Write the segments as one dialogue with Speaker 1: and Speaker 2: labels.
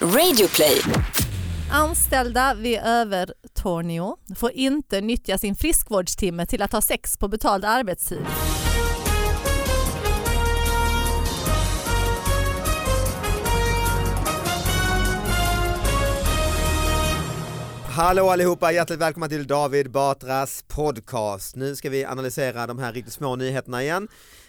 Speaker 1: Radioplay.
Speaker 2: Anställda vid Övertorneå får inte nyttja sin friskvårdstimme till att ha sex på betald arbetstid.
Speaker 3: Hallå allihopa, hjärtligt välkomna till David Batras podcast. Nu ska vi analysera de här riktigt små nyheterna igen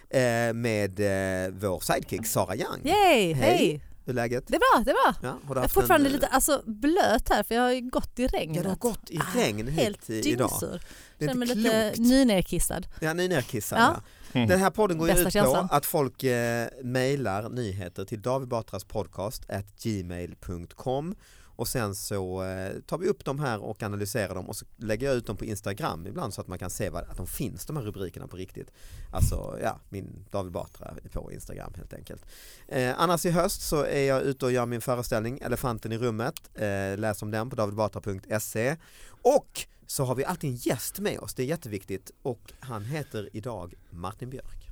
Speaker 3: eh, med eh, vår sidekick Sara Young.
Speaker 2: Yay, hej.
Speaker 3: Hur är läget?
Speaker 2: Det är bra, det är bra.
Speaker 3: Ja, har
Speaker 2: Jag
Speaker 3: du
Speaker 2: är
Speaker 3: haft
Speaker 2: fortfarande
Speaker 3: en, eh,
Speaker 2: lite alltså, blöt här för jag har ju gått i regnet.
Speaker 3: Ja, det har gått i
Speaker 2: Ah,
Speaker 3: regn hit
Speaker 2: Helt
Speaker 3: i- idag.
Speaker 2: dyngsur.
Speaker 3: Det är
Speaker 2: Känner mig
Speaker 3: inte
Speaker 2: lite
Speaker 3: klokt.
Speaker 2: nynerkissad.
Speaker 3: Ja, ni är nerkissade.
Speaker 2: Ja.
Speaker 3: Ja. Den här podden går ju
Speaker 2: Bästa
Speaker 3: ut
Speaker 2: känslan.
Speaker 3: på att folk eh, mejlar nyheter till David Batras podcast at gmail.com och sen så eh, tar vi upp de här och analyserar dem och så lägger jag ut dem på Instagram ibland så att man kan se vad, att de finns de här rubrikerna på riktigt. Alltså ja, min David Batra på Instagram helt enkelt. Eh, annars i höst så är jag ute och gör min föreställning Elefanten i rummet. Eh, läs om den på davidbatra.se och så har vi alltid en gäst med oss, det är jätteviktigt och han heter idag Martin Björk.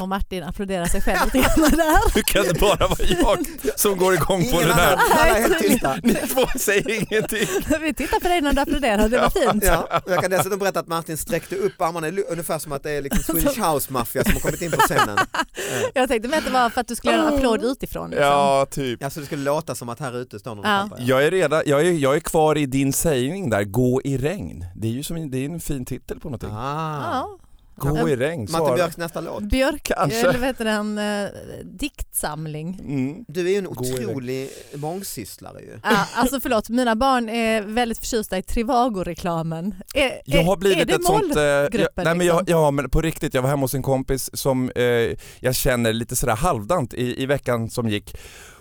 Speaker 2: Och Martin applåderar sig själv lite grann där.
Speaker 4: Hur kan det bara vara jag som går igång på det där?
Speaker 3: alla är helt tysta.
Speaker 4: Ni två säger ingenting.
Speaker 2: Vi tittar på dig när du applåderar, det var fint.
Speaker 3: Ja, och jag kan dessutom berätta att Martin sträckte upp armarna i lu- ungefär som att det är liksom Swedish House Mafia som har kommit in på scenen.
Speaker 2: Jag tänkte men att det var för att du skulle göra en applåd utifrån. Liksom.
Speaker 4: Ja, typ.
Speaker 3: Oh. Ja, så det skulle låta som att här ute står någon
Speaker 2: Ja.
Speaker 3: och trampar.
Speaker 4: Jag är, redan, jag, är, jag är kvar i din sägning där, gå i regn. Det är ju som en, det är en fin titel på någonting.
Speaker 3: Ah.
Speaker 2: Ja.
Speaker 4: Gå i regn,
Speaker 3: Martin
Speaker 4: Sara.
Speaker 3: Björks nästa låt.
Speaker 2: Björk,
Speaker 3: Alltså.
Speaker 4: Kanske.
Speaker 2: eller vad heter den, eh, diktsamling.
Speaker 4: Mm.
Speaker 3: Du är ju en
Speaker 4: Gå i regn.
Speaker 3: otrolig mångsysslare ju.
Speaker 2: Ja, alltså förlåt, mina barn är väldigt förtjusta i Trivago-reklamen. Är,
Speaker 4: Jag har
Speaker 2: är- är
Speaker 4: blivit
Speaker 2: det
Speaker 4: ett sånt... eh, jag,
Speaker 2: målgruppen,
Speaker 4: nej men jag,
Speaker 2: liksom?
Speaker 4: ja men på riktigt, jag var hemma hos en kompis som eh, jag känner lite sådär halvdant i, i veckan som gick.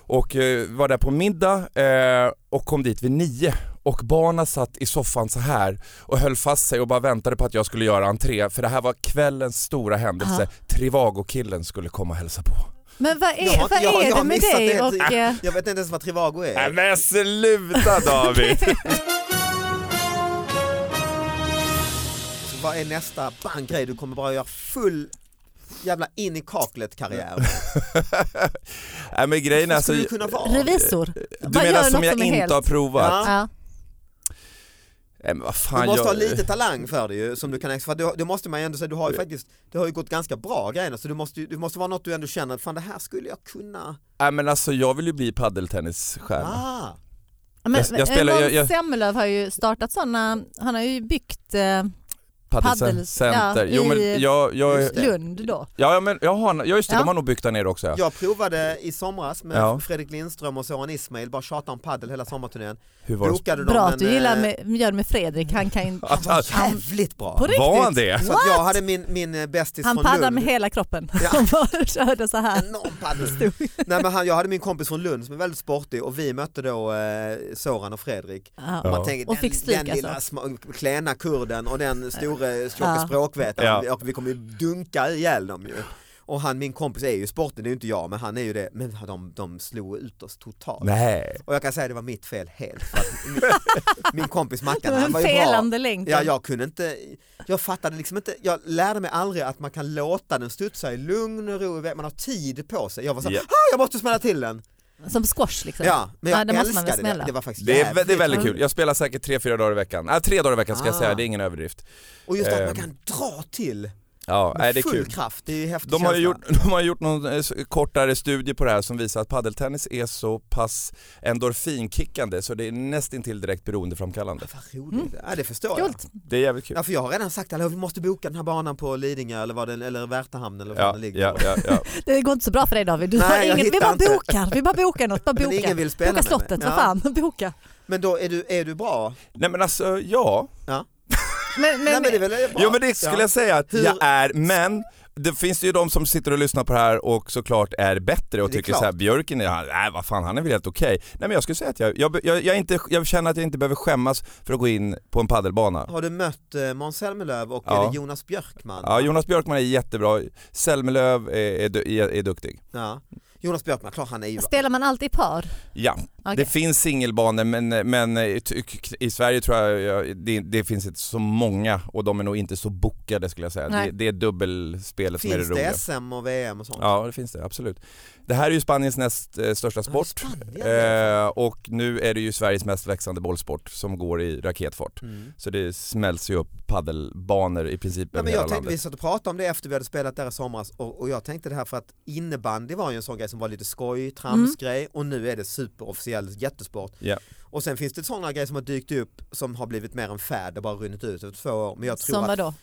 Speaker 4: Och eh, var där på middag eh, och kom dit vid nio och barna satt i soffan så här och höll fast sig och bara väntade på att jag skulle göra entré för det här var kvällens stora händelse.
Speaker 2: Aha.
Speaker 4: Trivago-killen skulle komma och hälsa på.
Speaker 2: Men vad är,
Speaker 3: Jag har-
Speaker 2: vad
Speaker 3: jag har-
Speaker 2: är
Speaker 3: jag har
Speaker 2: det med
Speaker 3: missat
Speaker 2: dig
Speaker 3: det.
Speaker 2: och... eh,
Speaker 3: Jag vet inte ens vad Trivago
Speaker 4: Nej
Speaker 3: är.
Speaker 4: men sluta David!
Speaker 3: Så vad är nästa bang grej? Du kommer bara göra full jävla in i kaklet karriär.
Speaker 4: nej men grejen är
Speaker 3: Vad
Speaker 4: alltså,
Speaker 3: skulle du
Speaker 4: du
Speaker 3: kunna vara?
Speaker 2: Revisor. Vad
Speaker 4: menar
Speaker 2: gör
Speaker 4: som
Speaker 2: något
Speaker 4: jag
Speaker 2: som är
Speaker 4: inte
Speaker 2: helt?
Speaker 4: har provat?
Speaker 3: Ja.
Speaker 2: Ja.
Speaker 4: Nej, men vad fan,
Speaker 3: Du måste
Speaker 4: jag...
Speaker 3: ha lite talang för det ju, som du kan ex- för du, du måste man ju ändå säga, du har ju faktiskt, det har ju gått ganska bra grejerna så du måste, ju- det måste vara något du ändå känner, fan det här skulle jag kunna.
Speaker 4: Nej men alltså jag vill ju bli paddeltennisstjärna.
Speaker 3: Ah,
Speaker 2: Men,
Speaker 4: jag spelar-
Speaker 2: eh,
Speaker 4: jag- jag-
Speaker 2: Måns Zelmerlöw har ju startat sådana, han har ju byggt eh,
Speaker 4: Paddelcenter.
Speaker 2: Paddel-
Speaker 4: jo
Speaker 2: ja,
Speaker 4: men
Speaker 2: i-
Speaker 4: jag, jag,
Speaker 3: Just det.
Speaker 2: Lund då.
Speaker 4: ja, ja, men jag har, ja just det,
Speaker 2: Ja.
Speaker 4: de har nog byggt där nere också ja.
Speaker 3: jag provade i somras med
Speaker 4: Ja.
Speaker 3: Fredrik Lindström och Soran Ismail, bara tjata om paddel hela sommarturnén.
Speaker 4: Hur var det?
Speaker 3: Bokade
Speaker 2: Bra
Speaker 3: dem
Speaker 2: att du
Speaker 3: en,
Speaker 2: gillar
Speaker 3: eh,
Speaker 2: med, gör det med Fredrik, han kan ju...
Speaker 4: Att, att,
Speaker 3: Jävligt bra!
Speaker 2: På riktigt?
Speaker 4: var han det?
Speaker 3: Så att jag hade min, min eh, bästis
Speaker 2: Han
Speaker 3: från
Speaker 2: paddlar
Speaker 3: Lund.
Speaker 2: med hela kroppen.
Speaker 3: Ja.
Speaker 2: Han bara körde så här.
Speaker 3: enorm paddel. Nej, men han, jag hade min kompis från Lund som är väldigt sportig och vi mötte då eh, Soran och Fredrik. Och
Speaker 2: Ja.
Speaker 3: Man tänker,
Speaker 2: Och
Speaker 3: den,
Speaker 2: fick stryk alltså."
Speaker 3: den lilla små, klena kurden och den store tjocka
Speaker 2: Ja.
Speaker 3: språkvetaren,
Speaker 4: Ja.
Speaker 3: och vi kommer ju dunka ihjäl dem ju. Och han, min kompis är ju sporten, det är ju inte jag, men han är ju det. Men de, de slog ut oss totalt.
Speaker 4: Nej.
Speaker 3: Och jag kan säga det var mitt fel helt. För att min, min kompis Mackan, han
Speaker 2: Den
Speaker 3: var ju bra.
Speaker 2: felande länken.
Speaker 3: Ja, jag kunde inte, jag fattade liksom inte, jag lärde mig aldrig att man kan låta den studsa i lugn och ro, man har tid på sig. Jag var så här,
Speaker 4: Ja.
Speaker 3: ah, jag måste smälla till den.
Speaker 2: Som squash liksom.
Speaker 3: Ja, men jag
Speaker 2: Ja, det måste man väl
Speaker 3: älskade det.
Speaker 2: smälla.
Speaker 3: Det var faktiskt
Speaker 4: Det är, vä-
Speaker 3: jävligt
Speaker 4: det är väldigt
Speaker 3: kul.
Speaker 4: kul. Jag spelar säkert tre, fyra dagar i veckan. Äh, tre dagar i veckan ska jag
Speaker 3: Ah.
Speaker 4: säga, det är ingen överdrift.
Speaker 3: Och just att man
Speaker 4: Ehm.
Speaker 3: kan dra till
Speaker 4: Ja,
Speaker 3: med
Speaker 4: nej, det är
Speaker 3: full
Speaker 4: kul.
Speaker 3: kraft, det är ju häftigt.
Speaker 4: De har, ju gjort, de har gjort någon eh, s- kortare studie på det här som visar att paddeltennis är så pass endorfinkickande så det är nästintill direkt beroendeframkallande.
Speaker 3: Vad roligt, ja, det förstår jag.
Speaker 2: Coolt.
Speaker 4: Det är jävligt kul.
Speaker 3: Ja, för jag har redan sagt att vi måste boka den här banan på Lidingö eller, vad den, eller Värtahamn eller var
Speaker 4: Ja,
Speaker 3: den ligger.
Speaker 4: ja, ja, ja.
Speaker 2: Det går inte så bra för dig David. Du
Speaker 3: Nej,
Speaker 2: har
Speaker 3: jag
Speaker 2: ingen, vi
Speaker 3: hittar
Speaker 2: bara
Speaker 3: inte.
Speaker 2: bokar, vi bara bokar något. Bara
Speaker 3: Men
Speaker 2: boka.
Speaker 3: ingen vill spela
Speaker 2: boka
Speaker 3: med mig.
Speaker 2: slottet, vad
Speaker 3: Ja.
Speaker 2: fan, boka.
Speaker 3: Men då är du, är du bra?
Speaker 4: Nej men alltså, ja.
Speaker 2: Men,
Speaker 3: Nej,
Speaker 2: men,
Speaker 3: men det är väl bra?
Speaker 4: Jo men det skulle jag säga att
Speaker 3: Hur-
Speaker 4: jag är, men det finns ju de som sitter och lyssnar på det här och såklart är bättre och
Speaker 3: Det är
Speaker 4: tycker
Speaker 3: klart.
Speaker 4: såhär, Björken är, han- nej vad fan han är väl helt okej. Nej men jag skulle säga att jag, jag, be- jag, jag, är inte, jag känner att jag inte behöver skämmas för att gå in på en paddelbana.
Speaker 3: Har du mött eh, Måns Zelmerlöw och
Speaker 4: Ja.
Speaker 3: är det Jonas Björkman?
Speaker 4: Ja, Jonas Björkman är jättebra, Selmelöv är, är, du- är, är duktig.
Speaker 3: Ja. Jonas Björkman, klart han är ju...
Speaker 2: Spelar man alltid i par?
Speaker 4: Ja,
Speaker 2: Okej.
Speaker 4: Det finns singelbanor men, men eh, i, i Sverige tror jag jag- det, det finns inte så många och de är nog inte så bokade skulle jag säga.
Speaker 2: Nej.
Speaker 4: Det, det är dubbelspelet som är
Speaker 3: Finns
Speaker 4: det roliga.
Speaker 3: det SM och VM och sånt?
Speaker 4: Ja det finns det, absolut. Det här är ju Spaniens näst eh, största
Speaker 3: Ja, i
Speaker 4: sport
Speaker 3: Spanien.
Speaker 4: eh, och nu är det ju Sveriges mest växande bollsport som går i raketfart.
Speaker 3: Mm.
Speaker 4: Så det smälls ju upp paddelbanor i princip
Speaker 3: Ja,
Speaker 4: över
Speaker 3: men
Speaker 4: hela
Speaker 3: jag tänkte, vi
Speaker 4: landet.
Speaker 3: satt och pratade om det efter vi hade spelat där i somras och, och jag tänkte det här för att innebandy var ju en sån grej som var lite skoj, tramsgrej
Speaker 2: Mm.
Speaker 3: och nu är det superofficiell jättesport.
Speaker 4: Ja.
Speaker 3: Och sen finns det sådana grejer som har dykt upp som har blivit mer en färd och bara runnit ut över två år. Men jag tror
Speaker 2: Som
Speaker 3: att,
Speaker 2: vadå?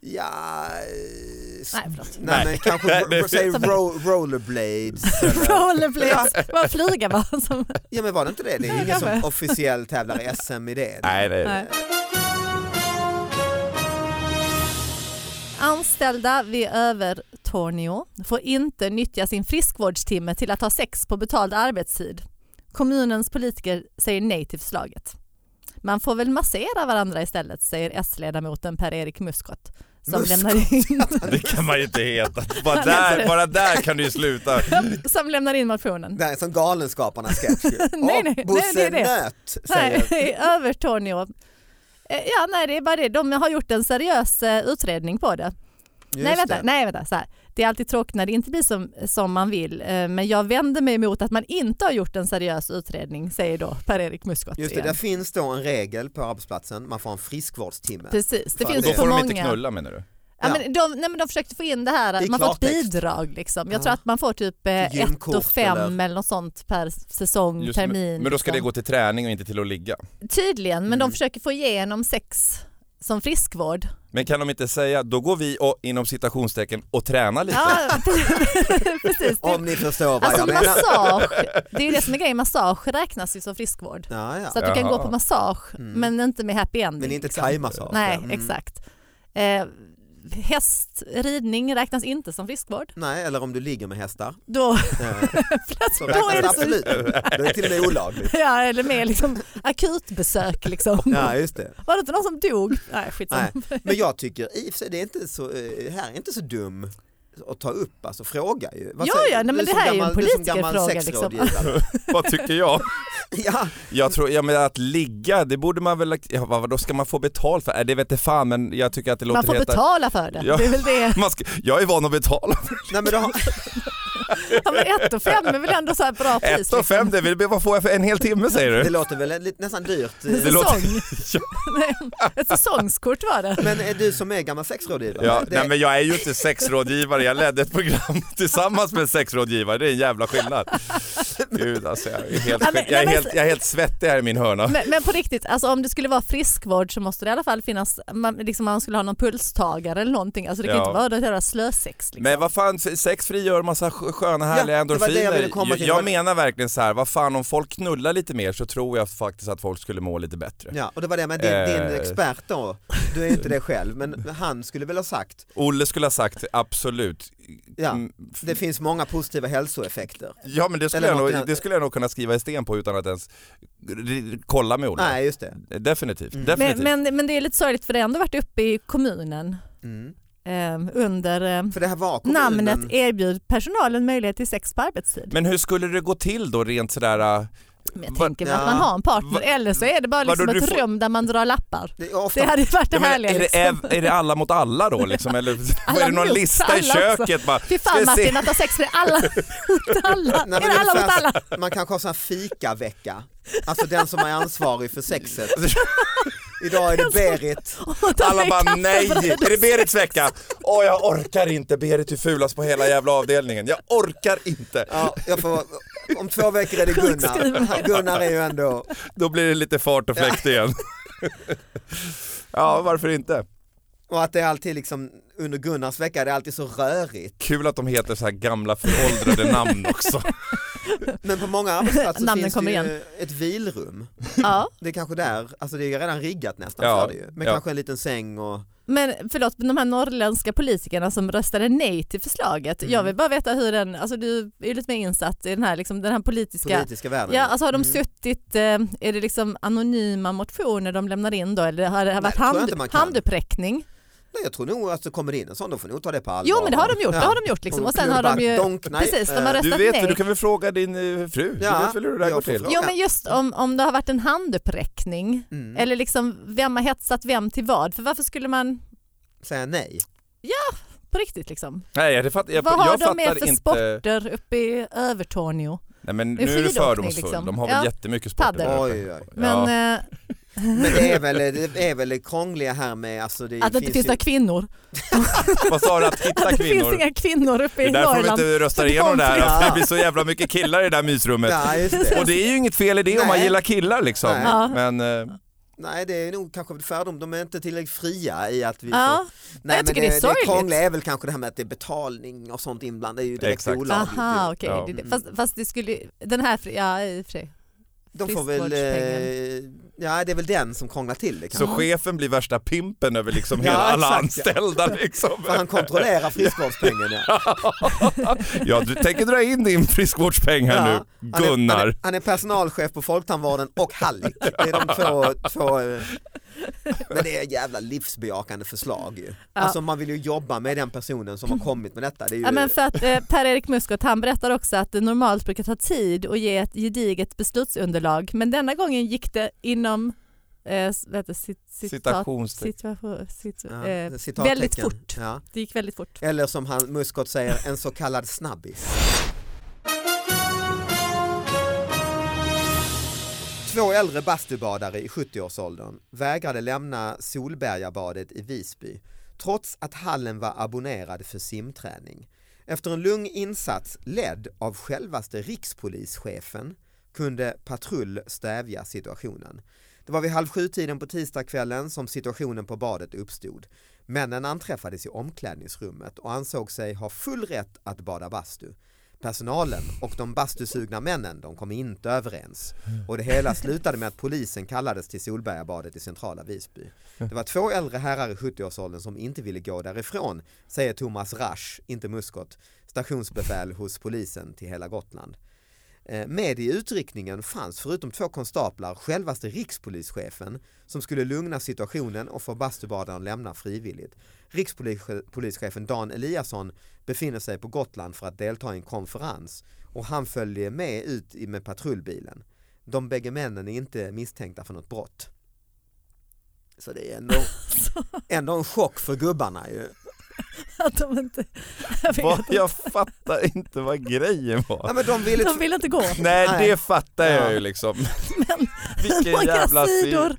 Speaker 3: ja, eh,
Speaker 2: Nej, förlåt.
Speaker 3: nej, men kanske,
Speaker 4: Nej.
Speaker 3: ro- säg ro, rollerblades. eller-
Speaker 2: Rollerblades, var en flyga bara som...
Speaker 3: ja men var det inte det? Det är ingen som officiellt tävlar i SM i det.
Speaker 4: Nej, det är det.
Speaker 2: Nej. Anställda vid Övertorneå får inte nyttja sin friskvårdstimme till att ha sex på betald arbetstid. Kommunens politiker säger nej till förslaget. Man får väl massera varandra istället, säger S-ledamoten Per-Erik Muskott. Som
Speaker 3: Muskott?
Speaker 2: lämnar, in,
Speaker 4: Det kan man ju inte heta. Bara där, bara där kan du ju sluta.
Speaker 2: som lämnar in motionen.
Speaker 3: Nej, som Galenskaparna sketch ju.
Speaker 2: Nej,
Speaker 3: Och
Speaker 2: nej, nej,
Speaker 3: Bosse
Speaker 2: det är det.
Speaker 3: Nöt
Speaker 2: Nej,
Speaker 3: säger
Speaker 2: i Övertorneå. Eh, Ja, nej, det är bara det. De har gjort en seriös eh, utredning på det.
Speaker 3: Just
Speaker 2: nej vänta,
Speaker 3: det.
Speaker 2: nej vänta, så här. Det är alltid tråkigt när det inte blir som, som man vill, eh, men jag vänder mig emot att man inte har gjort en seriös utredning, säger då Per-Erik Muskott.
Speaker 3: Just det,
Speaker 2: igen.
Speaker 3: där finns då en regel på arbetsplatsen, man får en friskvårdstimme.
Speaker 2: Precis, det
Speaker 3: Fan,
Speaker 2: finns
Speaker 4: Då
Speaker 2: det
Speaker 4: får
Speaker 2: för
Speaker 4: de
Speaker 2: många.
Speaker 4: inte knulla menar du?
Speaker 2: Ja,
Speaker 3: Ja.
Speaker 2: men de, nej, men de försökte få in det här,
Speaker 3: Det är
Speaker 2: att man får ett
Speaker 3: klartext.
Speaker 2: bidrag liksom. Jag
Speaker 3: Ja.
Speaker 2: tror att man får typ eh,
Speaker 3: Till
Speaker 2: ett
Speaker 3: gymkort
Speaker 2: och fem
Speaker 3: eller-
Speaker 2: eller... något sånt per säsong,
Speaker 4: Just,
Speaker 2: termin.
Speaker 4: men, men då ska det
Speaker 2: liksom.
Speaker 4: gå till träning och inte till att ligga.
Speaker 2: Tydligen, men
Speaker 3: Mm.
Speaker 2: de försöker få igenom sex som friskvård.
Speaker 4: Men kan de inte säga, då går vi och, inom citationstecken och tränar lite.
Speaker 2: Ja, precis. Det,
Speaker 3: Om ni förstår vad
Speaker 2: alltså
Speaker 3: jag menar.
Speaker 2: massage, det är ju det som är grejen, massage räknas ju som friskvård.
Speaker 3: Ja, ja.
Speaker 2: Så att du kan
Speaker 4: Jaha.
Speaker 2: gå på massage
Speaker 3: Mm.
Speaker 2: men inte med happy ending.
Speaker 3: Men inte
Speaker 2: liksom.
Speaker 3: thaimassage.
Speaker 2: Nej,
Speaker 3: Mm.
Speaker 2: exakt. Eh, häst, ridning räknas inte som friskvård.
Speaker 3: Nej, eller om du ligger med hästar.
Speaker 2: Då,
Speaker 3: Eh, Så
Speaker 2: plötsligt, då
Speaker 3: räknas
Speaker 2: är det
Speaker 3: det
Speaker 2: så,
Speaker 3: absolut. Då är det till och med olagligt.
Speaker 2: ja, eller med liksom, akutbesök liksom.
Speaker 3: Ja, just det.
Speaker 2: Var det inte någon som dog? Nej, skitsamma.
Speaker 3: Nej. Men jag tycker i och för sig, det är inte så, eh, här är inte så dum att ta upp, alltså fråga ju.
Speaker 2: Ja,
Speaker 3: säger-
Speaker 2: ja, nej, men
Speaker 3: du
Speaker 2: det
Speaker 3: som
Speaker 2: här är ju en
Speaker 3: gammal- du som
Speaker 2: politikerfråga,
Speaker 3: gammal
Speaker 2: liksom.
Speaker 3: sexrådgivare.
Speaker 4: Vad tycker jag?
Speaker 3: Ja,
Speaker 4: Jag tror, ja men att ligga, det borde man väl, ja, vad, då ska man få betalt för? Äh, det vet inte fan men jag tycker att det låter
Speaker 2: Man får
Speaker 4: helt-
Speaker 2: betala för det.
Speaker 4: Ja.
Speaker 2: det är väl det.
Speaker 4: Man ska, jag är van att betala.
Speaker 3: nej, men då har,
Speaker 2: Ja, men ett och fem är väl ändå så här bra pris. liksom.
Speaker 4: Ett och fem, det vill, vad får jag för en hel timme säger
Speaker 3: det
Speaker 4: du?
Speaker 3: låter väl lite, nästan dyrt. eh,
Speaker 2: Liksom.
Speaker 4: Det
Speaker 2: Säsong.
Speaker 4: låter-
Speaker 2: Nej, Ett säsongskort var det.
Speaker 3: Men är du som är gammal sexrådgivare?
Speaker 4: Ja,
Speaker 3: det,
Speaker 4: nej men jag är ju inte sexrådgivare, jag ledde ett program tillsammans med en sexrådgivare, det är en jävla skillnad. Gud alltså jag är helt,
Speaker 2: Ja, men-
Speaker 4: skick- jag
Speaker 2: nej,
Speaker 4: är
Speaker 2: men-
Speaker 4: helt, jag är helt svettig här i min hörna.
Speaker 2: Men, men på riktigt, alltså om det skulle vara friskvård så måste det i alla fall finnas, man, liksom man skulle ha någon pulstagare eller någonting. Alltså det kan
Speaker 4: Ja.
Speaker 2: inte vara det där slösex. Liksom.
Speaker 4: Men vad fan, sex frigör massa sk- sköna härliga
Speaker 3: Ja, det var det jag
Speaker 4: endorfiner.
Speaker 3: ville komma till.
Speaker 4: jag, menar verkligen så här, vad fan om folk knullar lite mer så tror jag faktiskt att folk skulle må lite bättre.
Speaker 3: Ja, och det var det med din, din
Speaker 4: Eh.
Speaker 3: expert då, du är ju inte det själv, men han skulle väl ha sagt,
Speaker 4: Olle skulle ha sagt absolut.
Speaker 3: ja,
Speaker 4: Mm, f-
Speaker 3: det finns många positiva hälsoeffekter.
Speaker 4: ja men det skulle,
Speaker 3: Eller
Speaker 4: jag
Speaker 3: något
Speaker 4: nog,
Speaker 3: annat.
Speaker 4: det skulle jag nog kunna skriva i sten på utan att ens r- kolla med Olle.
Speaker 3: Nej, just det.
Speaker 4: Definitivt.
Speaker 3: Mm.
Speaker 4: Definitivt.
Speaker 2: men, men, men det är lite sorgligt för det har ändå varit uppe i kommunen
Speaker 3: Mm.
Speaker 2: eh, under eh,
Speaker 3: För det här var kommunen.
Speaker 2: namnet erbjud personalen möjlighet till sex på arbetstid.
Speaker 4: Men hur skulle det gå till då rent sådär, äh,
Speaker 2: Men jag
Speaker 4: vad-
Speaker 2: tänker
Speaker 3: ja.
Speaker 2: att man har en partner
Speaker 4: Va-
Speaker 2: eller så är det bara
Speaker 4: vadå,
Speaker 2: liksom
Speaker 4: du
Speaker 2: ett
Speaker 4: får-
Speaker 2: rum där man drar lappar.
Speaker 3: Det är ofta,
Speaker 2: Det hade ju varit det
Speaker 4: jag menar,
Speaker 2: härliga.
Speaker 4: är, det,
Speaker 2: liksom.
Speaker 4: är, är det alla mot alla då liksom? Eller är det någon
Speaker 2: mot
Speaker 4: lista i
Speaker 2: alla också.
Speaker 4: köket? Bara,
Speaker 2: Fy
Speaker 4: ska
Speaker 2: fan
Speaker 4: jag se-
Speaker 2: Martin att ha sex med alla mot alla.
Speaker 3: Nej, men
Speaker 2: är det alla
Speaker 3: ungefär
Speaker 2: mot alla?
Speaker 3: Man kanske har sån här fikavecka, alltså den som är ansvarig för sexet. Idag är det Berit,
Speaker 2: Och ta
Speaker 4: Alla
Speaker 2: med
Speaker 4: bara nej,
Speaker 2: kaffebröd och
Speaker 4: är det Berits vecka? Åh jag orkar inte, Berit är fulast på hela jävla avdelningen. Jag orkar inte.
Speaker 3: ja, jag får, om två veckor är det Gunnar.
Speaker 2: Sjukskriven.
Speaker 3: Gunnar är ju ändå,
Speaker 4: Då blir det lite fart och fläkt igen. Ja, varför inte?
Speaker 3: och att det är alltid liksom under Gunnars vecka är det alltid så rörigt.
Speaker 4: Kul att de heter så här gamla föråldrade namn också.
Speaker 3: Men på många arbetsplatser
Speaker 2: Namnen
Speaker 3: finns det
Speaker 2: kommer
Speaker 3: ju ett vilrum.
Speaker 2: Ja,
Speaker 3: Det är kanske där, alltså det är redan riggat nästan
Speaker 4: Ja,
Speaker 3: för det ju. Men
Speaker 4: ja.
Speaker 3: kanske en liten säng och...
Speaker 2: men förlåt, men de här norrländska politikerna som röstade nej till förslaget.
Speaker 3: Mm.
Speaker 2: Jag vill bara veta hur den, alltså du är ju lite mer insatt i den här, liksom, den här politiska,
Speaker 3: politiska världen.
Speaker 2: ja alltså har de
Speaker 3: Mm.
Speaker 2: suttit, eh, är det liksom anonyma motioner de lämnar in då eller har det
Speaker 3: Nej,
Speaker 2: varit
Speaker 3: det tror jag
Speaker 2: hand,
Speaker 3: inte man kan.
Speaker 2: handuppräckning?
Speaker 3: Nej, jag tror nog att det kommer in en sån, då får ni nog ta det på allvar.
Speaker 2: Jo men det har de gjort, det har de gjort liksom. Och sen har de ju,
Speaker 3: Donk, nej,
Speaker 2: precis, de har
Speaker 3: eh,
Speaker 4: Du
Speaker 2: röstat
Speaker 4: vet
Speaker 2: nej.
Speaker 4: ju, du kan väl fråga din eh, fru?
Speaker 3: Ja,
Speaker 4: du vet väl hur det där
Speaker 3: jag
Speaker 4: går
Speaker 3: får
Speaker 4: till?
Speaker 3: fråga.
Speaker 2: Jo men just om, om det har varit en handuppräckning
Speaker 3: Mm.
Speaker 2: eller liksom vem har hetsat vem till vad, för varför skulle man
Speaker 3: Säga nej.
Speaker 2: på riktigt liksom?
Speaker 4: Nej, jag, fatt, jag,
Speaker 2: vad har
Speaker 4: jag
Speaker 2: de med
Speaker 4: fattar
Speaker 2: för
Speaker 4: inte...
Speaker 3: Eh.
Speaker 2: sporter uppe i Övertorneå?
Speaker 4: Nej, men
Speaker 2: Det är
Speaker 4: nu är du
Speaker 2: skidåkning,
Speaker 4: fördomsfull,
Speaker 2: liksom.
Speaker 4: de har väl
Speaker 2: Ja.
Speaker 4: jättemycket sporter.
Speaker 2: Padel.
Speaker 4: där uppe.
Speaker 3: Oj, oj.
Speaker 2: Men
Speaker 4: ja.
Speaker 2: eh,
Speaker 3: Men det är väl det, är väl det krångliga här med, alltså det
Speaker 2: att det inte finns
Speaker 3: ju-
Speaker 2: några kvinnor.
Speaker 4: Vad sa du, att hitta
Speaker 2: Att det
Speaker 4: kvinnor?
Speaker 2: finns inga kvinnor uppe
Speaker 4: det
Speaker 2: i
Speaker 4: är därför de
Speaker 2: Norrland.
Speaker 4: inte röstar
Speaker 2: För
Speaker 4: igenom det här,
Speaker 2: de-
Speaker 4: att det blir så jävla mycket killar i det där mysrummet.
Speaker 3: Ja, just det.
Speaker 4: Och det är ju inget fel i det om man
Speaker 3: Nej.
Speaker 4: gillar killar liksom.
Speaker 3: Nej.
Speaker 2: Ja.
Speaker 4: Men eh,
Speaker 3: Nej det är nog kanske en fördom, de är inte tillräckligt fria i att vi
Speaker 2: Ja.
Speaker 3: får... Nej
Speaker 2: jag
Speaker 3: men
Speaker 2: tycker
Speaker 3: det,
Speaker 2: det är sorgligt.
Speaker 3: det krångliga är väl kanske det här med att det är betalning och sånt inblandat, det är ju direkt
Speaker 4: Exakt.
Speaker 3: olagligt. ju.
Speaker 2: Aha, okej.
Speaker 4: Ja.
Speaker 2: Det är det. Fast, fast det skulle den här, fri- ja i och för sig.
Speaker 3: De får väl, eh, ja det är väl den som krånglar till det
Speaker 4: så
Speaker 3: kanske.
Speaker 4: chefen blir värsta pimpen över liksom
Speaker 3: Ja,
Speaker 4: hela, alla
Speaker 3: exakt, ja.
Speaker 4: anställda liksom.
Speaker 3: För han kontrollerar friskvårdspengen ja.
Speaker 4: Ja, du tänker dra in din friskvårdspeng här
Speaker 3: Ja,
Speaker 4: nu,
Speaker 3: Han är- Han
Speaker 4: Gunnar.
Speaker 3: är, han är personalchef på Folktandvården och Hallik. Det är de två, två eh, men det är jävla livsbejakande förslag ju. Alltså man vill ju jobba med den personen som har kommit med detta. Det är ju,
Speaker 2: Ja, men för att eh, Per-Erik Muskot han berättar också att det normalt brukar ta tid att ge ett gediget beslutsunderlag men denna gången gick det inom eh, vet du, sit, citat,
Speaker 4: Citationstecken.
Speaker 2: situation, situ,
Speaker 3: Ja,
Speaker 2: eh,
Speaker 3: citattecken.
Speaker 2: väldigt fort.
Speaker 3: Ja.
Speaker 2: Det gick väldigt fort.
Speaker 3: Eller som han Muskot säger, en så kallad snabbis. Två äldre bastubadare i 70-årsåldern vägrade lämna Solbergabadet i Visby trots att hallen var abonnerad för simträning. Efter en lugn insats ledd av självaste rikspolischefen kunde patrull stävja situationen. Det var vid halv sju-tiden på tisdagskvällen som situationen på badet uppstod. Männen anträffades i omklädningsrummet och ansåg sig ha full rätt att bada bastu. Personalen och de bastusugna männen de kom inte överens och det hela slutade med att polisen kallades till Solbergabadet i centrala Visby. Det var två äldre herrar i 70-årsåldern som inte ville gå därifrån, säger Thomas Rasch, inte Muskot, stationsbefäl hos polisen till hela Gotland. Eh, Med i utryckningen fanns förutom två konstaplar självaste rikspolischefen som skulle lugna situationen och få bastubadaren att lämna frivilligt. Rikspolischefen Dan Eliasson befinner sig på Gotland för att delta i en konferens och han följer med ut i- med patrullbilen. De bägge männen är inte misstänkta för något brott. Så det är ändå, ändå en chock för gubbarna ju.
Speaker 2: Att de inte, jag vet,
Speaker 4: Vad- Jag fattar inte vad grejen
Speaker 3: Ja,
Speaker 4: var.
Speaker 3: men de ville
Speaker 2: de vill inte gå.
Speaker 4: Nej,
Speaker 3: Nej.
Speaker 4: det fattar jag
Speaker 3: Ja.
Speaker 4: ju liksom.
Speaker 2: Men
Speaker 4: Vilken jävla
Speaker 2: många
Speaker 4: syn.
Speaker 2: sidor var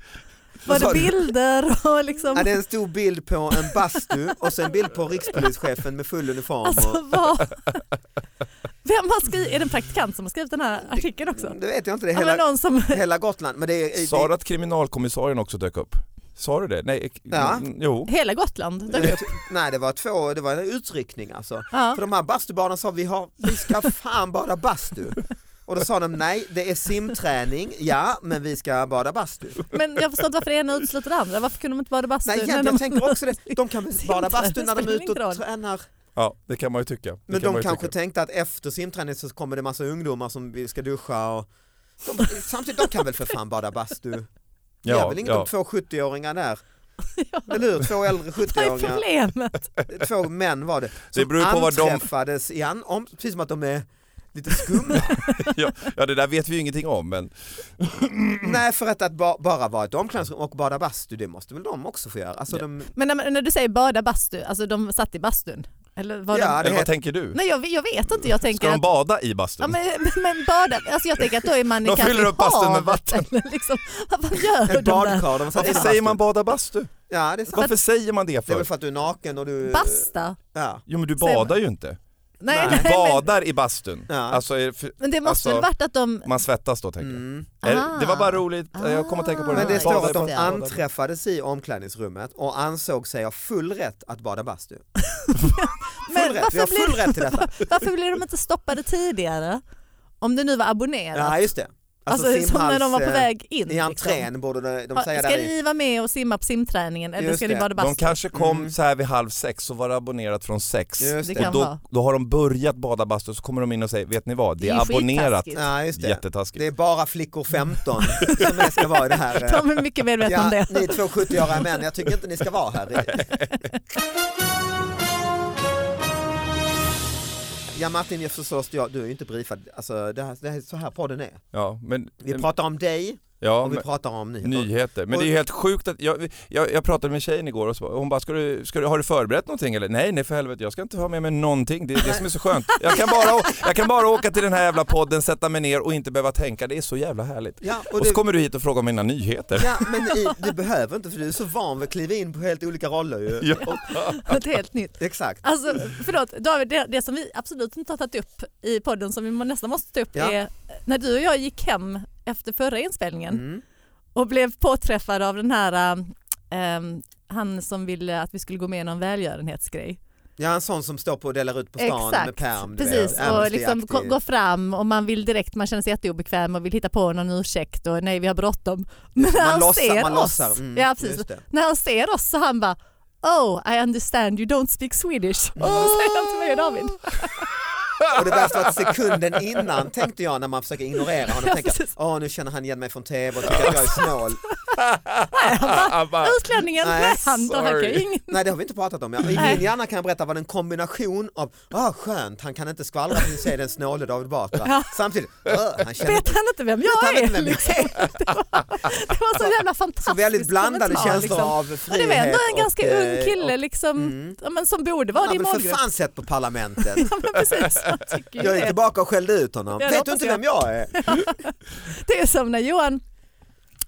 Speaker 3: Vad sa
Speaker 2: det
Speaker 3: du?
Speaker 2: bilder och liksom,
Speaker 3: Ja, det är en stor bild på en bastu och sen en bild på rikspolischefen med full uniform.
Speaker 2: alltså
Speaker 3: Och,
Speaker 2: vad? Vem har skrivit, är det en praktikant som har skrivit den här artikeln också?
Speaker 3: Mm, det vet jag inte, det är
Speaker 2: Ja, men
Speaker 3: hela,
Speaker 2: någon som,
Speaker 3: hela Gotland. Men det är, det-
Speaker 4: Sa du att kriminalkommissarien också dök upp? Sa du det? Nej, ek-
Speaker 3: Ja.
Speaker 4: jo.
Speaker 2: hela Gotland dök upp.
Speaker 3: Nej det var två, det var en utryckning alltså.
Speaker 2: Ja.
Speaker 3: För de här bastubarnen sa vi, har, vi ska fan bada bastu. Och då sa de nej, det är simträning, ja men vi ska bada bastu.
Speaker 2: Men jag förstår inte varför det ena utesluter det andra. Varför kunde de inte bada bastu?
Speaker 3: Nej,
Speaker 2: när
Speaker 3: jag,
Speaker 2: de-
Speaker 3: jag tänker också det, de kan väl bada bastu när de är
Speaker 2: Simträning
Speaker 3: ute
Speaker 2: spelar
Speaker 3: och
Speaker 2: ingen
Speaker 3: tränar.
Speaker 4: Ja, det kan man ju tycka. Det
Speaker 3: Men
Speaker 4: kan man
Speaker 3: de
Speaker 4: ju
Speaker 3: kanske
Speaker 4: tycka.
Speaker 3: tänkte att efter simträning så kommer det massa ungdomar som vi ska duscha och de, samtidigt, de kan väl för fan bada bastu. Det är väl inget om två 70-åringar där,
Speaker 2: Ja,
Speaker 3: eller hur? Två äldre
Speaker 2: Vad är
Speaker 3: 70-åringar.
Speaker 2: problemet?
Speaker 3: två män var det.
Speaker 4: Det
Speaker 3: Som
Speaker 4: beror på vad de-
Speaker 3: anträffades i an, om, precis som att de är lite skumma.
Speaker 4: ja, ja, det där vet vi ju ingenting om men
Speaker 3: Nej för att, att ba, bara vara ett omklädningsrum och bada bastu det måste väl de också få göra. Alltså,
Speaker 4: Ja.
Speaker 3: de,
Speaker 2: Men när, när du säger bada bastu, alltså de satt i bastun? Eller var
Speaker 3: Ja,
Speaker 2: de...
Speaker 3: det
Speaker 4: Eller vad
Speaker 3: heter-
Speaker 4: tänker du?
Speaker 2: Nej jag, vet- jag vet inte, jag tänker
Speaker 4: Ska de
Speaker 2: att...
Speaker 4: bada i
Speaker 2: Ja,
Speaker 4: bastun?
Speaker 2: men, men bada, alltså jag tänker att då är man
Speaker 4: De
Speaker 2: kanske
Speaker 4: fyller
Speaker 2: i
Speaker 4: upp bastun med
Speaker 2: havet,
Speaker 4: vatten.
Speaker 2: Eller liksom, vad vad gör de
Speaker 3: ett
Speaker 2: där?
Speaker 3: badkar. De satt i
Speaker 4: Varför
Speaker 3: bastu.
Speaker 4: säger man bada bastu?
Speaker 3: Ja det är sant.
Speaker 4: Varför säger man det
Speaker 3: Det är väl
Speaker 4: för?
Speaker 3: för att du är naken och du...
Speaker 2: Basta?
Speaker 3: Ja.
Speaker 4: Jo men du
Speaker 2: Säger man-
Speaker 4: badar ju inte.
Speaker 2: Nej,
Speaker 3: Nej.
Speaker 2: nej. men,
Speaker 4: Badar i bastun.
Speaker 3: Ja.
Speaker 4: Alltså, är det för-
Speaker 2: men det måste väl
Speaker 4: alltså-
Speaker 2: varit att de...
Speaker 4: man svettas då tänker jag.
Speaker 3: Mm.
Speaker 4: Eller- Det var bara
Speaker 2: Ah.
Speaker 4: roligt, jag kommer att tänka på det.
Speaker 3: Men
Speaker 4: Bada
Speaker 3: det
Speaker 4: i
Speaker 3: står att
Speaker 4: bastun.
Speaker 3: de anträffades i omklädningsrummet och ansåg sig ha full rätt att bada bastu.
Speaker 2: Men
Speaker 3: Full rätt, vi har
Speaker 2: varför
Speaker 3: full rätt till detta.
Speaker 2: Varför blev de inte stoppade tidigare? Om det nu var abonnerat.
Speaker 3: Ja just det.
Speaker 2: Alltså, som när de var på
Speaker 3: simhals, eh,
Speaker 2: väg in.
Speaker 3: I
Speaker 2: liksom.
Speaker 3: entrén borde de, de
Speaker 2: Ja,
Speaker 3: säga
Speaker 2: ska
Speaker 3: där i.
Speaker 2: ni vara med och simma på simträningen eller
Speaker 3: Just
Speaker 2: ska ni
Speaker 3: det.
Speaker 2: bara
Speaker 4: De
Speaker 2: basta?
Speaker 4: kanske kom
Speaker 3: Mm.
Speaker 4: så här vid halv sex och var abonnerat från sex.
Speaker 3: Just
Speaker 2: Det
Speaker 3: det.
Speaker 2: kan vara.
Speaker 4: Då, då har de börjat bada bastu och så kommer de in och säger, vet ni vad, det
Speaker 2: Det
Speaker 4: är
Speaker 2: är
Speaker 4: abonnerat.
Speaker 2: skittaskigt.
Speaker 3: Ja, just det.
Speaker 4: Jättetaskigt.
Speaker 3: det är bara flickor 15 som det ska vara i det här. eh.
Speaker 2: De är mycket medvetna om
Speaker 3: Ja,
Speaker 2: det.
Speaker 3: ni två 70-åriga män, jag tycker inte ni ska vara här. Ja Martin, jag förstår, jag, du är ju inte briefad. Alltså, det, här, det här är så här podden är.
Speaker 4: Ja, men,
Speaker 3: Vi pratar om dig
Speaker 4: ja,
Speaker 3: och vi
Speaker 4: men,
Speaker 3: pratar Mm. om nyheter.
Speaker 4: nyheter. Men det är ju helt sjukt att, jag, jag, jag pratade med tjejen igår och så, hon bara, ska du, ska du, har du förberett någonting eller? Nej, nej för helvete, jag ska inte ha med mig någonting. Det är det som är så skönt. Jag kan bara, å- jag kan bara åka till den här jävla podden, sätta mig ner och inte behöva tänka. Det är så jävla härligt.
Speaker 3: Ja, och
Speaker 4: Och så
Speaker 3: det,
Speaker 4: kommer du hit och frågar om mina nyheter.
Speaker 3: ja, men i, du behöver inte för du är så van vid att kliva in på helt olika roller ju.
Speaker 4: Ja.
Speaker 2: Något helt nytt.
Speaker 3: Exakt.
Speaker 2: Alltså, förlåt, David, det, det som vi absolut inte har tagit upp i podden som vi må- nästan måste ta upp
Speaker 3: Ja.
Speaker 2: är eh, när du och jag gick hem efter förra inspelningen
Speaker 3: Mm.
Speaker 2: och blev påträffad av den här ehm, han som ville att vi skulle gå med i någon välgörenhetsgrej.
Speaker 3: Ja, en sån som står på och delar ut på stan
Speaker 2: Exakt.
Speaker 3: med pärm. du
Speaker 2: Precis,
Speaker 3: vet.
Speaker 2: och liksom
Speaker 3: Amnesty-aktig.
Speaker 2: ko- gå fram och man vill direkt, man känner sig jätteobekväm och vill hitta på någon ursäkt och nej vi har bråttom. Men när
Speaker 3: man
Speaker 2: han
Speaker 3: låtsar,
Speaker 2: ser
Speaker 3: man
Speaker 2: oss,
Speaker 3: låtsar. Mm,
Speaker 2: ja, precis.
Speaker 3: just det.
Speaker 2: när han ser oss så han bara Oh, I understand you don't speak Swedish. Säger han till mig och David.
Speaker 3: Och det värsta var att sekunden innan tänkte jag när man försöker ignorera honom,
Speaker 2: Ja,
Speaker 3: tänka
Speaker 2: precis.
Speaker 3: åh nu känner han igen mig från tv och tycker att jag är snål.
Speaker 4: Han bara,
Speaker 2: Utlänningen,
Speaker 3: Nej,
Speaker 2: nej, han då här kan
Speaker 4: sorry.
Speaker 2: ju ingen.
Speaker 3: Mm. Nej det har vi inte pratat om. Ja. I
Speaker 2: Nej.
Speaker 3: min hjärna kan jag berätta vad en kombination av, ah skönt han kan inte skvallra för se den snåle David Batra.
Speaker 2: Ja.
Speaker 3: Samtidigt, "Åh, han känner
Speaker 2: Vet han inte vem
Speaker 3: Vet
Speaker 2: jag
Speaker 3: han
Speaker 2: är?
Speaker 3: inte vem jag
Speaker 2: liksom. det, var, det var så jävla fantastiskt.
Speaker 3: så väldigt blandade
Speaker 2: kommentar,
Speaker 3: känslor
Speaker 2: liksom.
Speaker 3: av frihet.
Speaker 2: Men det var ändå en
Speaker 3: och,
Speaker 2: ganska
Speaker 3: eh,
Speaker 2: ung kille
Speaker 3: och-
Speaker 2: liksom,
Speaker 3: Mm.
Speaker 2: ja, men som borde
Speaker 3: Han
Speaker 2: vara
Speaker 3: har
Speaker 2: din
Speaker 3: väl för
Speaker 2: målgrupp.
Speaker 3: fan sett på Parlamentet.
Speaker 2: Ja, men precis, jag tycker ju
Speaker 3: Jag gick
Speaker 2: det.
Speaker 3: tillbaka och skällde ut honom.
Speaker 2: Ja, det
Speaker 3: Vet du
Speaker 2: hoppas
Speaker 3: inte
Speaker 2: jag.
Speaker 3: vem jag är?
Speaker 2: Det är som när Johan,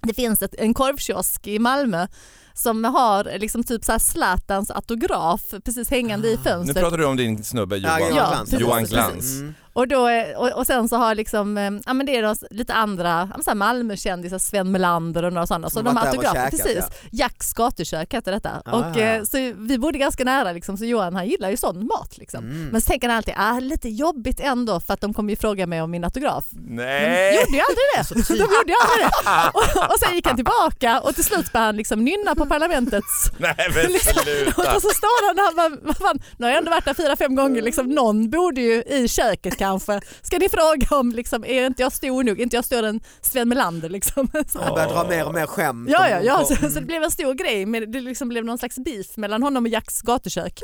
Speaker 2: det finns ett, en korvkiosk i Malmö som har liksom typ så här Zlatans autograf precis hängande
Speaker 3: Ah,
Speaker 2: i
Speaker 4: nu
Speaker 2: fönstret.
Speaker 4: pratar du om din snubbe Johan.
Speaker 2: Johan Ja, Glans.
Speaker 4: Johan
Speaker 3: precis.
Speaker 4: Glans.
Speaker 3: Mm.
Speaker 2: Och, då, är- och, och sen så har liksom, eh, ja men det är då lite andra, ja, men så här Malmökändisar, Sven Melander och några sådana. Så
Speaker 3: Som
Speaker 2: de
Speaker 3: varit
Speaker 2: har
Speaker 3: där och
Speaker 2: autografer,
Speaker 3: käkat,
Speaker 2: precis. Jacks gatukök hette detta.
Speaker 3: Ah.
Speaker 2: Och, eh, så vi bodde ganska nära liksom, så Johan han gillar ju sån mat liksom.
Speaker 3: Mm.
Speaker 2: Men så tänker han alltid, ah, lite jobbigt ändå för att de kommer ju fråga mig om min autograf. Men
Speaker 4: Nej!
Speaker 2: gjorde jag aldrig det?
Speaker 3: Eh. Så
Speaker 2: De gjorde jag aldrig det. Och, och sen gick han tillbaka och till slut började han liksom nynna på parlamentets...
Speaker 4: Nej men sluta!
Speaker 2: Och så står han där och bara, vad fan, nu har jag ändå varit där fyra, fem gånger, liksom, någon borde ju i köket kanske. Ska ni fråga om, liksom, är inte jag stor nog? Är inte jag större än Sven Melander? Liksom. Så,
Speaker 3: Han börjar dra mer och mer skämt.
Speaker 2: ja,
Speaker 3: om-
Speaker 2: ja, alltså, ja.
Speaker 3: om-
Speaker 2: Så, så det blev en stor grej, men det liksom blev någon slags beef mellan honom och Jacks gatukök.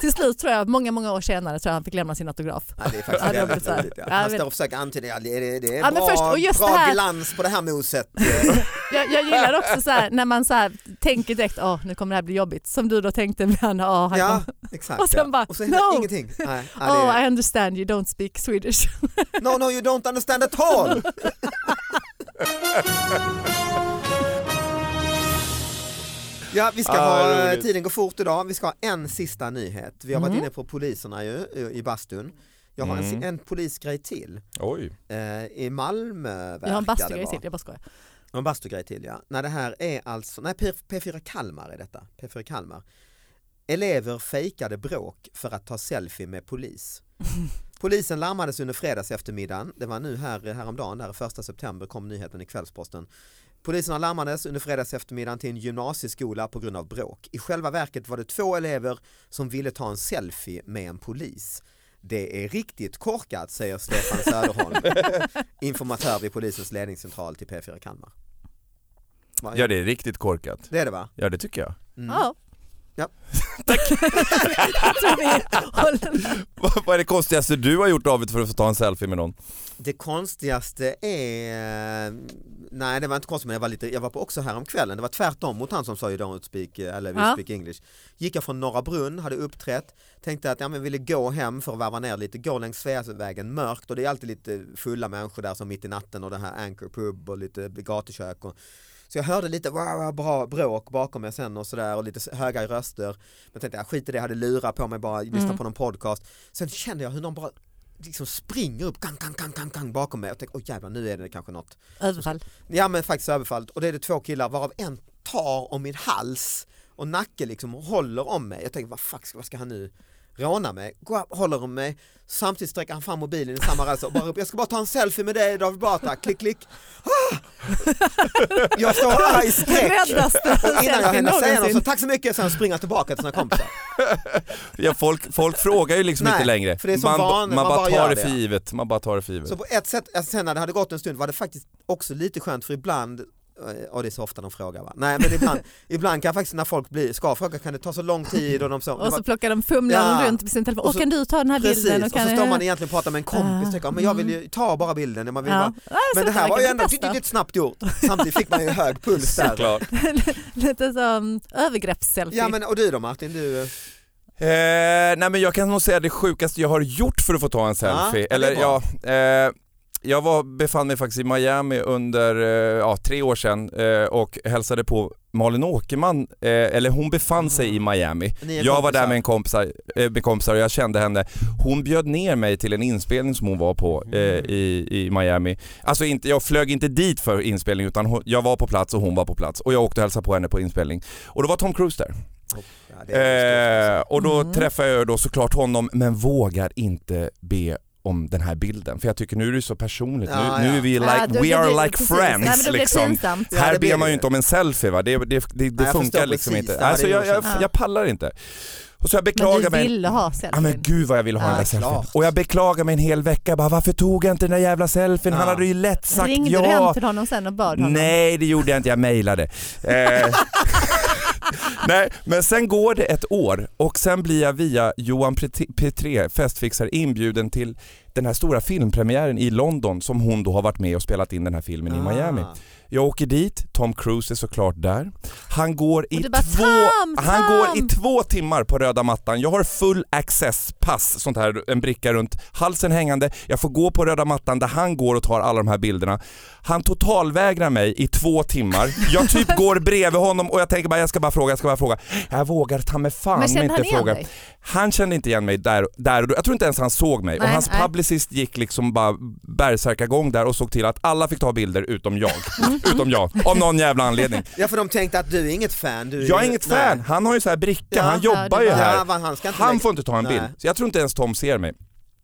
Speaker 2: Till slut tror jag, många, många år senare, tror jag han fick lämna sin autograf.
Speaker 3: Ja, det är
Speaker 2: Ja,
Speaker 3: faktiskt
Speaker 2: det har
Speaker 3: väldigt
Speaker 2: blivit så här.
Speaker 3: roligt. Ja.
Speaker 2: Ja, jag
Speaker 3: Han
Speaker 2: vet.
Speaker 3: står och försöker antyda, ja, det är, det är
Speaker 2: Ja, men
Speaker 3: bra,
Speaker 2: först, och just
Speaker 3: bra
Speaker 2: det här-
Speaker 3: glans på det här moset.
Speaker 2: Jag, jag gillar också så här, när man så här, tänker direkt åh nu kommer det här bli jobbigt. Som du då tänkte med han, åh, han
Speaker 3: ja,
Speaker 2: kommer,
Speaker 3: exakt.
Speaker 2: Och sen
Speaker 3: ja.
Speaker 2: bara,
Speaker 3: och så händer
Speaker 2: no.
Speaker 3: ingenting. Nej, ja, det
Speaker 2: oh,
Speaker 3: är,
Speaker 2: I understand you don't speak Swedish.
Speaker 3: no, no, you don't understand at all. Ja, vi ska
Speaker 4: Ah,
Speaker 3: ha,
Speaker 4: roligt.
Speaker 3: tiden går fort idag, vi ska ha en sista nyhet. Vi har varit
Speaker 2: Mm.
Speaker 3: inne på poliserna ju, i- i bastun. Jag har en,
Speaker 4: Mm.
Speaker 3: si- en polisgrej till
Speaker 4: Oj.
Speaker 3: eh, i Malmö verkar
Speaker 2: Jag har en
Speaker 3: det
Speaker 2: bastugrej
Speaker 3: vara.
Speaker 2: till, jag bara skojar.
Speaker 3: En bastugrej till ja. Nej det här är alltså, nej P- P4 Kalmar är detta. P4 Kalmar. Elever fejkade bråk för att ta selfie med polis. Polisen larmades under fredags eftermiddagen. Det var nu här häromdagen, där första september kom nyheten i Kvällsposten. Poliserna larmades under fredags eftermiddagen till en gymnasieskola på grund av bråk. I själva verket var det två elever som ville ta en selfie med en polis. Det är riktigt korkat säger Stefan Söderholm, informatör vid polisens ledningscentral till P4 Kalmar. Va?
Speaker 4: Ja det är riktigt korkat.
Speaker 3: Det är det va?
Speaker 4: Ja det tycker jag.
Speaker 3: Mm.
Speaker 2: Ja.
Speaker 3: Ja.
Speaker 2: jag tror vi håller med.
Speaker 4: Vad vad är det konstigaste du har gjort David för att få ta en selfie med någon?
Speaker 3: Det konstigaste är, nej det var inte konstigt men jag var, lite, jag var på också här om kvällen. det var tvärtom mot han som sa you don't speak, eh, eller we
Speaker 2: Ja.
Speaker 3: speak English. Gick jag från Norra Brunn, hade uppträtt, tänkte att jag men ville gå hem för att varva ner lite, gå längs Sveavägen mörkt och det är alltid lite fulla människor där som mitt i natten och det här Anchor Pub och lite gatukök. Och, så jag hörde lite wow, wow, bra bråk bakom mig sen och sådär och lite höga röster. Men tänkte jag skit i det, jag hade lurar på mig bara, lyssna på någon podcast. Sen kände jag hur någon bara liksom springer upp gang, gang, gang, gang, gang bakom mig och tänkte åh jävlar nu är det kanske något.
Speaker 2: Överfall.
Speaker 3: Ja men faktiskt överfallet och det är det två killar varav en tar om min hals och nacke liksom och håller om mig. Jag tänker vad fuck vad ska han nu rånar mig, går, upp, håller om mig, samtidigt sträcker han fram mobilen i samma rörelse och bara upp, jag ska bara ta en selfie med dig David Batra, klick klick. Ah! Jag står arg i skräck.
Speaker 2: Räddaste
Speaker 3: Och innan jag
Speaker 2: selfien
Speaker 3: hinner säga något så
Speaker 2: någonsin.
Speaker 3: tack så mycket, sen springer jag tillbaka till sina kompisar.
Speaker 4: Ja, folk, folk frågar ju liksom
Speaker 3: Nej,
Speaker 4: inte längre.
Speaker 3: för det är som
Speaker 4: man, ba-
Speaker 3: vanligt,
Speaker 4: man
Speaker 3: man
Speaker 4: bara
Speaker 3: bara
Speaker 4: tar
Speaker 3: gör
Speaker 4: det
Speaker 3: det.
Speaker 4: för givet. Man bara tar det för givet.
Speaker 3: Så på ett sätt, alltså sen när det hade gått en stund var det faktiskt också lite skönt för ibland eh, och det är så ofta de frågar va? Nej men ibland, ibland kan faktiskt när folk blir, ska fråga kan det ta så lång tid och de så,
Speaker 2: Och så plockar de, fumlar de
Speaker 3: Ja.
Speaker 2: runt med sin telefon.
Speaker 3: Och
Speaker 2: Och
Speaker 3: så-
Speaker 2: kan du ta den här bilden?
Speaker 3: precis, och så står man egentligen och pratar med en kompis
Speaker 2: Ah,
Speaker 3: tänker, men jag vill
Speaker 4: Mm.
Speaker 3: ju ta bara bilden, man vill
Speaker 2: Ja.
Speaker 3: bara,
Speaker 2: Nej, så
Speaker 3: men det här
Speaker 2: verkar
Speaker 3: var ju ändå
Speaker 2: bästa.
Speaker 3: lite snabbt gjort, samtidigt fick man ju hög puls där.
Speaker 4: Såklart.
Speaker 2: Lite som övergreppsselfie.
Speaker 3: Ja men och du då Martin, du, eh,
Speaker 4: Eh, nej men jag kan nog säga det sjukaste jag har gjort för att få ta en selfie.
Speaker 3: ja, det är
Speaker 4: Eller ja,
Speaker 3: bra.
Speaker 4: eh, jag var, befann mig faktiskt i Miami under eh, ja, tre år sedan eh, och hälsade på Malin Åkerman, eh, eller hon befann sig
Speaker 3: Mm.
Speaker 4: i Miami.
Speaker 3: ni är
Speaker 4: Jag var där
Speaker 3: kompisar.
Speaker 4: med, en kompisar, eh, med kompisar och jag kände henne. Hon bjöd ner mig till en inspelning som hon var på eh, i, i Miami. Alltså inte, jag flög inte dit för inspelning utan hon, jag var på plats och hon var på plats och jag åkte och hälsade på henne på inspelning. Och då var Tom Cruise där.
Speaker 3: Ja, det är
Speaker 4: Eh, och då
Speaker 2: Mm.
Speaker 4: träffade jag då såklart honom men vågar inte be om den här bilden för jag tycker nu är det så personligt, nu,
Speaker 3: Ja,
Speaker 4: nu
Speaker 3: ja.
Speaker 4: är vi like,
Speaker 2: Ja, då-
Speaker 4: we
Speaker 2: då
Speaker 4: are
Speaker 2: blir-
Speaker 4: like
Speaker 2: precis. Nej, men
Speaker 4: friends
Speaker 2: då blir det
Speaker 4: liksom.
Speaker 2: pinsamt.
Speaker 3: Ja,
Speaker 4: här
Speaker 3: det blir
Speaker 4: ber man
Speaker 3: det.
Speaker 4: ju inte om en selfie va, det, det, det, det
Speaker 3: jag
Speaker 4: funkar
Speaker 3: förstår
Speaker 4: liksom
Speaker 3: precis.
Speaker 4: inte.
Speaker 3: Det var
Speaker 4: Alltså,
Speaker 3: det
Speaker 4: jag,
Speaker 3: jag
Speaker 4: jag,
Speaker 2: kände.
Speaker 4: jag pallar inte. Och så
Speaker 2: Men
Speaker 4: jag
Speaker 2: du
Speaker 4: beklagar mig.
Speaker 2: ville ha
Speaker 4: Ja
Speaker 2: selfien.
Speaker 4: men gud vad jag ville ha
Speaker 2: Ja,
Speaker 4: den där selfien.
Speaker 3: klart.
Speaker 4: Och jag beklagar mig en hel vecka bara, varför tog jag inte den där jävla selfien? Han
Speaker 3: Ja.
Speaker 4: hade ju lätt sagt
Speaker 2: Ringde
Speaker 4: ja.
Speaker 2: du hem till honom sen och bad honom?
Speaker 4: Nej det gjorde jag inte, jag mejlade. Eh. Nej, men sen går det ett år och sen blir jag via Johan Pret- Petré, festfixare, inbjuden till den här stora filmpremiären i London som hon då har varit med och spelat in den här filmen i Miami.
Speaker 3: Ah.
Speaker 4: Jag åker dit, Tom Cruise är såklart där. Han går i,
Speaker 2: Och du bara,
Speaker 4: två,
Speaker 2: "Tom,
Speaker 4: han
Speaker 2: Tom!"
Speaker 4: går i två timmar på röda mattan. Jag har full access-pass, sånt här, en bricka runt halsen hängande. Jag får gå på röda mattan där han går och tar alla de här bilderna. Han totalvägrar mig i två timmar. Jag typ går bredvid honom och jag tänker bara jag ska bara fråga, jag ska bara fråga. Jag vågar ta mig fan
Speaker 2: Men
Speaker 4: mig
Speaker 2: kände
Speaker 4: inte
Speaker 2: han igen
Speaker 4: fråga.
Speaker 2: dig?
Speaker 4: Han kände inte igen mig där, där och då. Jag tror inte ens han såg mig. och
Speaker 2: Nej,
Speaker 4: hans
Speaker 2: nej.
Speaker 4: publicist gick liksom bara bärsärkagång där och såg till att alla fick ta bilder utom jag.
Speaker 2: Mm.
Speaker 4: utom jag. Av någon jävla anledning.
Speaker 3: Ja för de tänkte att du är inget fan. Du är
Speaker 4: Jag är
Speaker 3: ju-
Speaker 4: inget
Speaker 3: nej.
Speaker 4: fan. Han har ju så här bricka,
Speaker 3: Ja,
Speaker 4: han
Speaker 2: ja,
Speaker 4: jobbar
Speaker 2: det
Speaker 4: ju
Speaker 2: var-
Speaker 4: här.
Speaker 3: Ja, men han ska inte
Speaker 4: Han
Speaker 3: lägga-
Speaker 4: får inte ta en bild.
Speaker 3: Nej.
Speaker 4: Så jag tror inte ens Tom ser mig.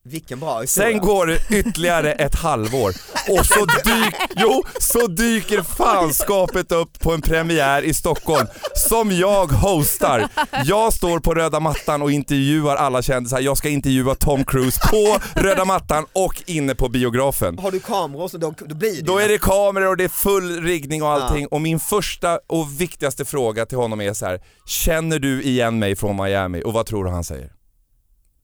Speaker 3: Vilken bra historia.
Speaker 4: Sen går det ytterligare ett halvår och så, dyk, jo, så dyker fanskapet upp på en premiär i Stockholm som jag hostar. Jag står på röda mattan och intervjuar alla kändisar. Jag ska intervjua Tom Cruise på röda mattan och inne på biografen.
Speaker 3: Har du kameror så då, då blir det
Speaker 4: Då
Speaker 3: ju-
Speaker 4: är det kameror och det är full riggning och allting och min första och viktigaste fråga till honom är så här: känner du igen mig från Miami? Och vad tror du han säger?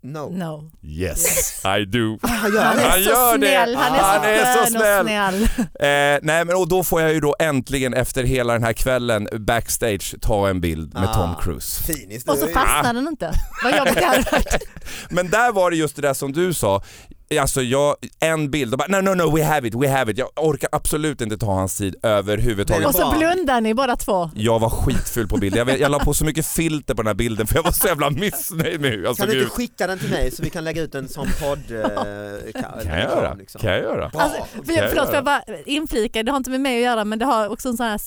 Speaker 3: No.
Speaker 2: No.
Speaker 4: Yes, I do.
Speaker 3: Han gör det.
Speaker 4: Han
Speaker 2: Han är så
Speaker 4: gör det.
Speaker 2: snäll, han är
Speaker 4: Han
Speaker 2: så
Speaker 4: är så
Speaker 2: skön och
Speaker 4: snäll.
Speaker 2: snäll.
Speaker 4: Eh, nej men och då får jag ju då äntligen efter hela den här kvällen backstage ta en bild med
Speaker 3: Ah.
Speaker 4: Tom Cruise.
Speaker 3: Fin historia.
Speaker 2: Och så fastnar den inte. Vad jobbigt det hade varit.
Speaker 4: Men där var det just det där som du sa, alltså jag, en bild och bara no no no we have it, we have it. Jag orkar absolut inte ta hans tid överhuvudtaget.
Speaker 2: Och så blundar ni båda två.
Speaker 4: Jag var skitfull på bilden, jag, vet- jag la på så mycket filter på den här bilden för jag var så jävla missnöjd med hur jag
Speaker 3: Kan
Speaker 4: såg
Speaker 3: du
Speaker 4: ut.
Speaker 3: inte skicka den till mig så vi kan lägga ut den som podd? Eh, kan,
Speaker 4: Kan jag göra?
Speaker 3: liksom?
Speaker 4: Kan jag göra?
Speaker 3: Bra.
Speaker 2: Alltså,
Speaker 3: Okej.
Speaker 4: jag
Speaker 2: förlåt, får
Speaker 4: göra?
Speaker 2: jag bara inflika, det har inte med mig att göra men det har också en sån här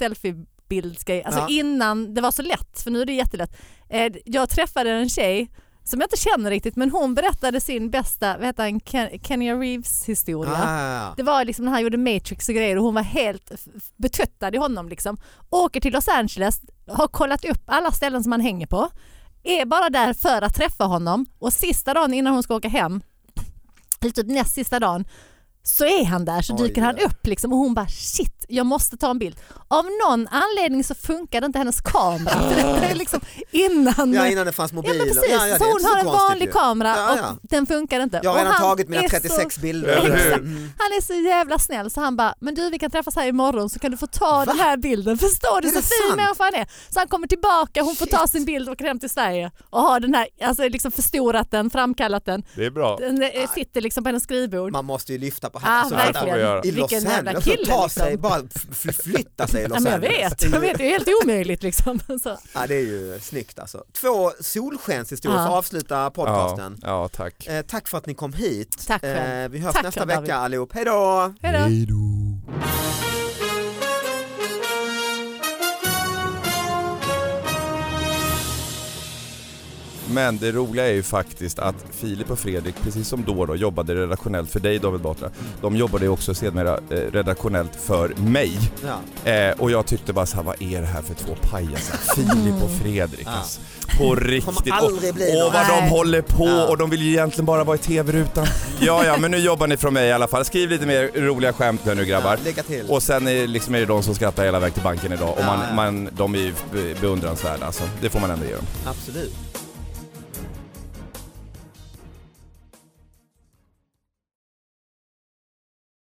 Speaker 2: selfiebildsgrej. Alltså
Speaker 3: Ja.
Speaker 2: innan det var så lätt, för nu är det jättelätt. Eh, Jag träffade en tjej som jag inte känner riktigt men hon berättade sin bästa, vad heter han, Ken- Kenya Reeves historia.
Speaker 3: Ah,
Speaker 2: Det var liksom när han gjorde Matrix och grejer och hon var helt f- f- betuttad i honom liksom. Åker till Los Angeles, har kollat upp alla ställen som han hänger på. Är bara där för att träffa honom och sista dagen innan hon ska åka hem, eller typ näst sista dagen, så är han där så
Speaker 3: Oj.
Speaker 2: dyker han upp liksom och hon bara shit, jag måste ta en bild. Av någon anledning så funkade inte hennes kamera. För detta är liksom innan.
Speaker 3: ja, innan det fanns
Speaker 2: Ja,
Speaker 3: mobiler.
Speaker 2: men precis,
Speaker 3: ja, det
Speaker 2: så
Speaker 3: är
Speaker 2: hon
Speaker 3: inte
Speaker 2: har en
Speaker 3: konstigt
Speaker 2: vanlig
Speaker 3: ju.
Speaker 2: kamera
Speaker 3: Ja,
Speaker 2: och
Speaker 3: ja.
Speaker 2: den funkar inte.
Speaker 3: Jag har
Speaker 2: Och
Speaker 3: redan
Speaker 2: han
Speaker 3: tagit mina
Speaker 2: är så-
Speaker 3: 36 bilder.
Speaker 4: Eller hur?
Speaker 3: Mm.
Speaker 2: han är så jävla snäll så han bara, men du vi kan träffas här imorgon så kan du få ta den här bilden. Förstår du
Speaker 3: Är
Speaker 2: så
Speaker 3: det
Speaker 2: fin
Speaker 3: sant?
Speaker 2: människa han är? Så han kommer tillbaka, hon får ta
Speaker 3: Shit.
Speaker 2: sin bild och åker hem till Sverige och har den här, alltså liksom förstorat den, framkallat den.
Speaker 4: Det är bra.
Speaker 2: Den eh, sitter liksom på hennes skrivbord.
Speaker 3: Man måste ju lyfta på
Speaker 2: Ah,
Speaker 3: alltså, vänta.
Speaker 4: verkligen.
Speaker 3: I Los
Speaker 2: Vilken jävla
Speaker 3: Angeles, att
Speaker 2: kille,
Speaker 3: ta
Speaker 2: liksom.
Speaker 3: sig, bara f- flytta sig i
Speaker 2: Ja,
Speaker 3: Los
Speaker 2: men jag
Speaker 3: Angeles.
Speaker 2: vet, jag vet, det är helt omöjligt liksom. Så.
Speaker 3: Ja, det är ju snyggt alltså. Två solskenshistorier
Speaker 2: Ja.
Speaker 3: för att avsluta podcasten.
Speaker 4: Ja, ja tack.
Speaker 3: Eh, tack för att ni kom hit.
Speaker 2: Tack själv.
Speaker 3: Eh, vi hörs
Speaker 2: Tack
Speaker 3: nästa
Speaker 2: själv, David.
Speaker 3: vecka allihop. Hej då!
Speaker 2: Hejdå.
Speaker 4: då. Men det roliga är ju faktiskt att Filip och Fredrik, precis som då, då jobbade redaktionellt för dig David Batra, de jobbade ju också sedermera eh, redaktionellt för mig.
Speaker 3: Ja.
Speaker 4: Eh, och jag tyckte bara så här, vad är det här för två pajasar? Filip och Fredrik
Speaker 3: Ja.
Speaker 4: alltså. På riktigt.
Speaker 3: Mm. Kommer aldrig bli
Speaker 4: och,
Speaker 3: någon.
Speaker 4: och vad de
Speaker 2: Nej.
Speaker 4: håller på
Speaker 3: Ja. Mm.
Speaker 4: och de vill ju egentligen bara vara i TV-rutan. Ja, ja, men nu jobbar ni från mig i alla fall. Skriv lite mer roliga skämt här nu grabbar.
Speaker 3: Ja, lycka till.
Speaker 4: Och sen är, liksom, är det de som skrattar hela vägen till banken idag och
Speaker 3: Ja,
Speaker 4: man,
Speaker 3: ja.
Speaker 4: Man, de är ju beundransvärda alltså. Det får man ändå ge dem.
Speaker 3: Absolut.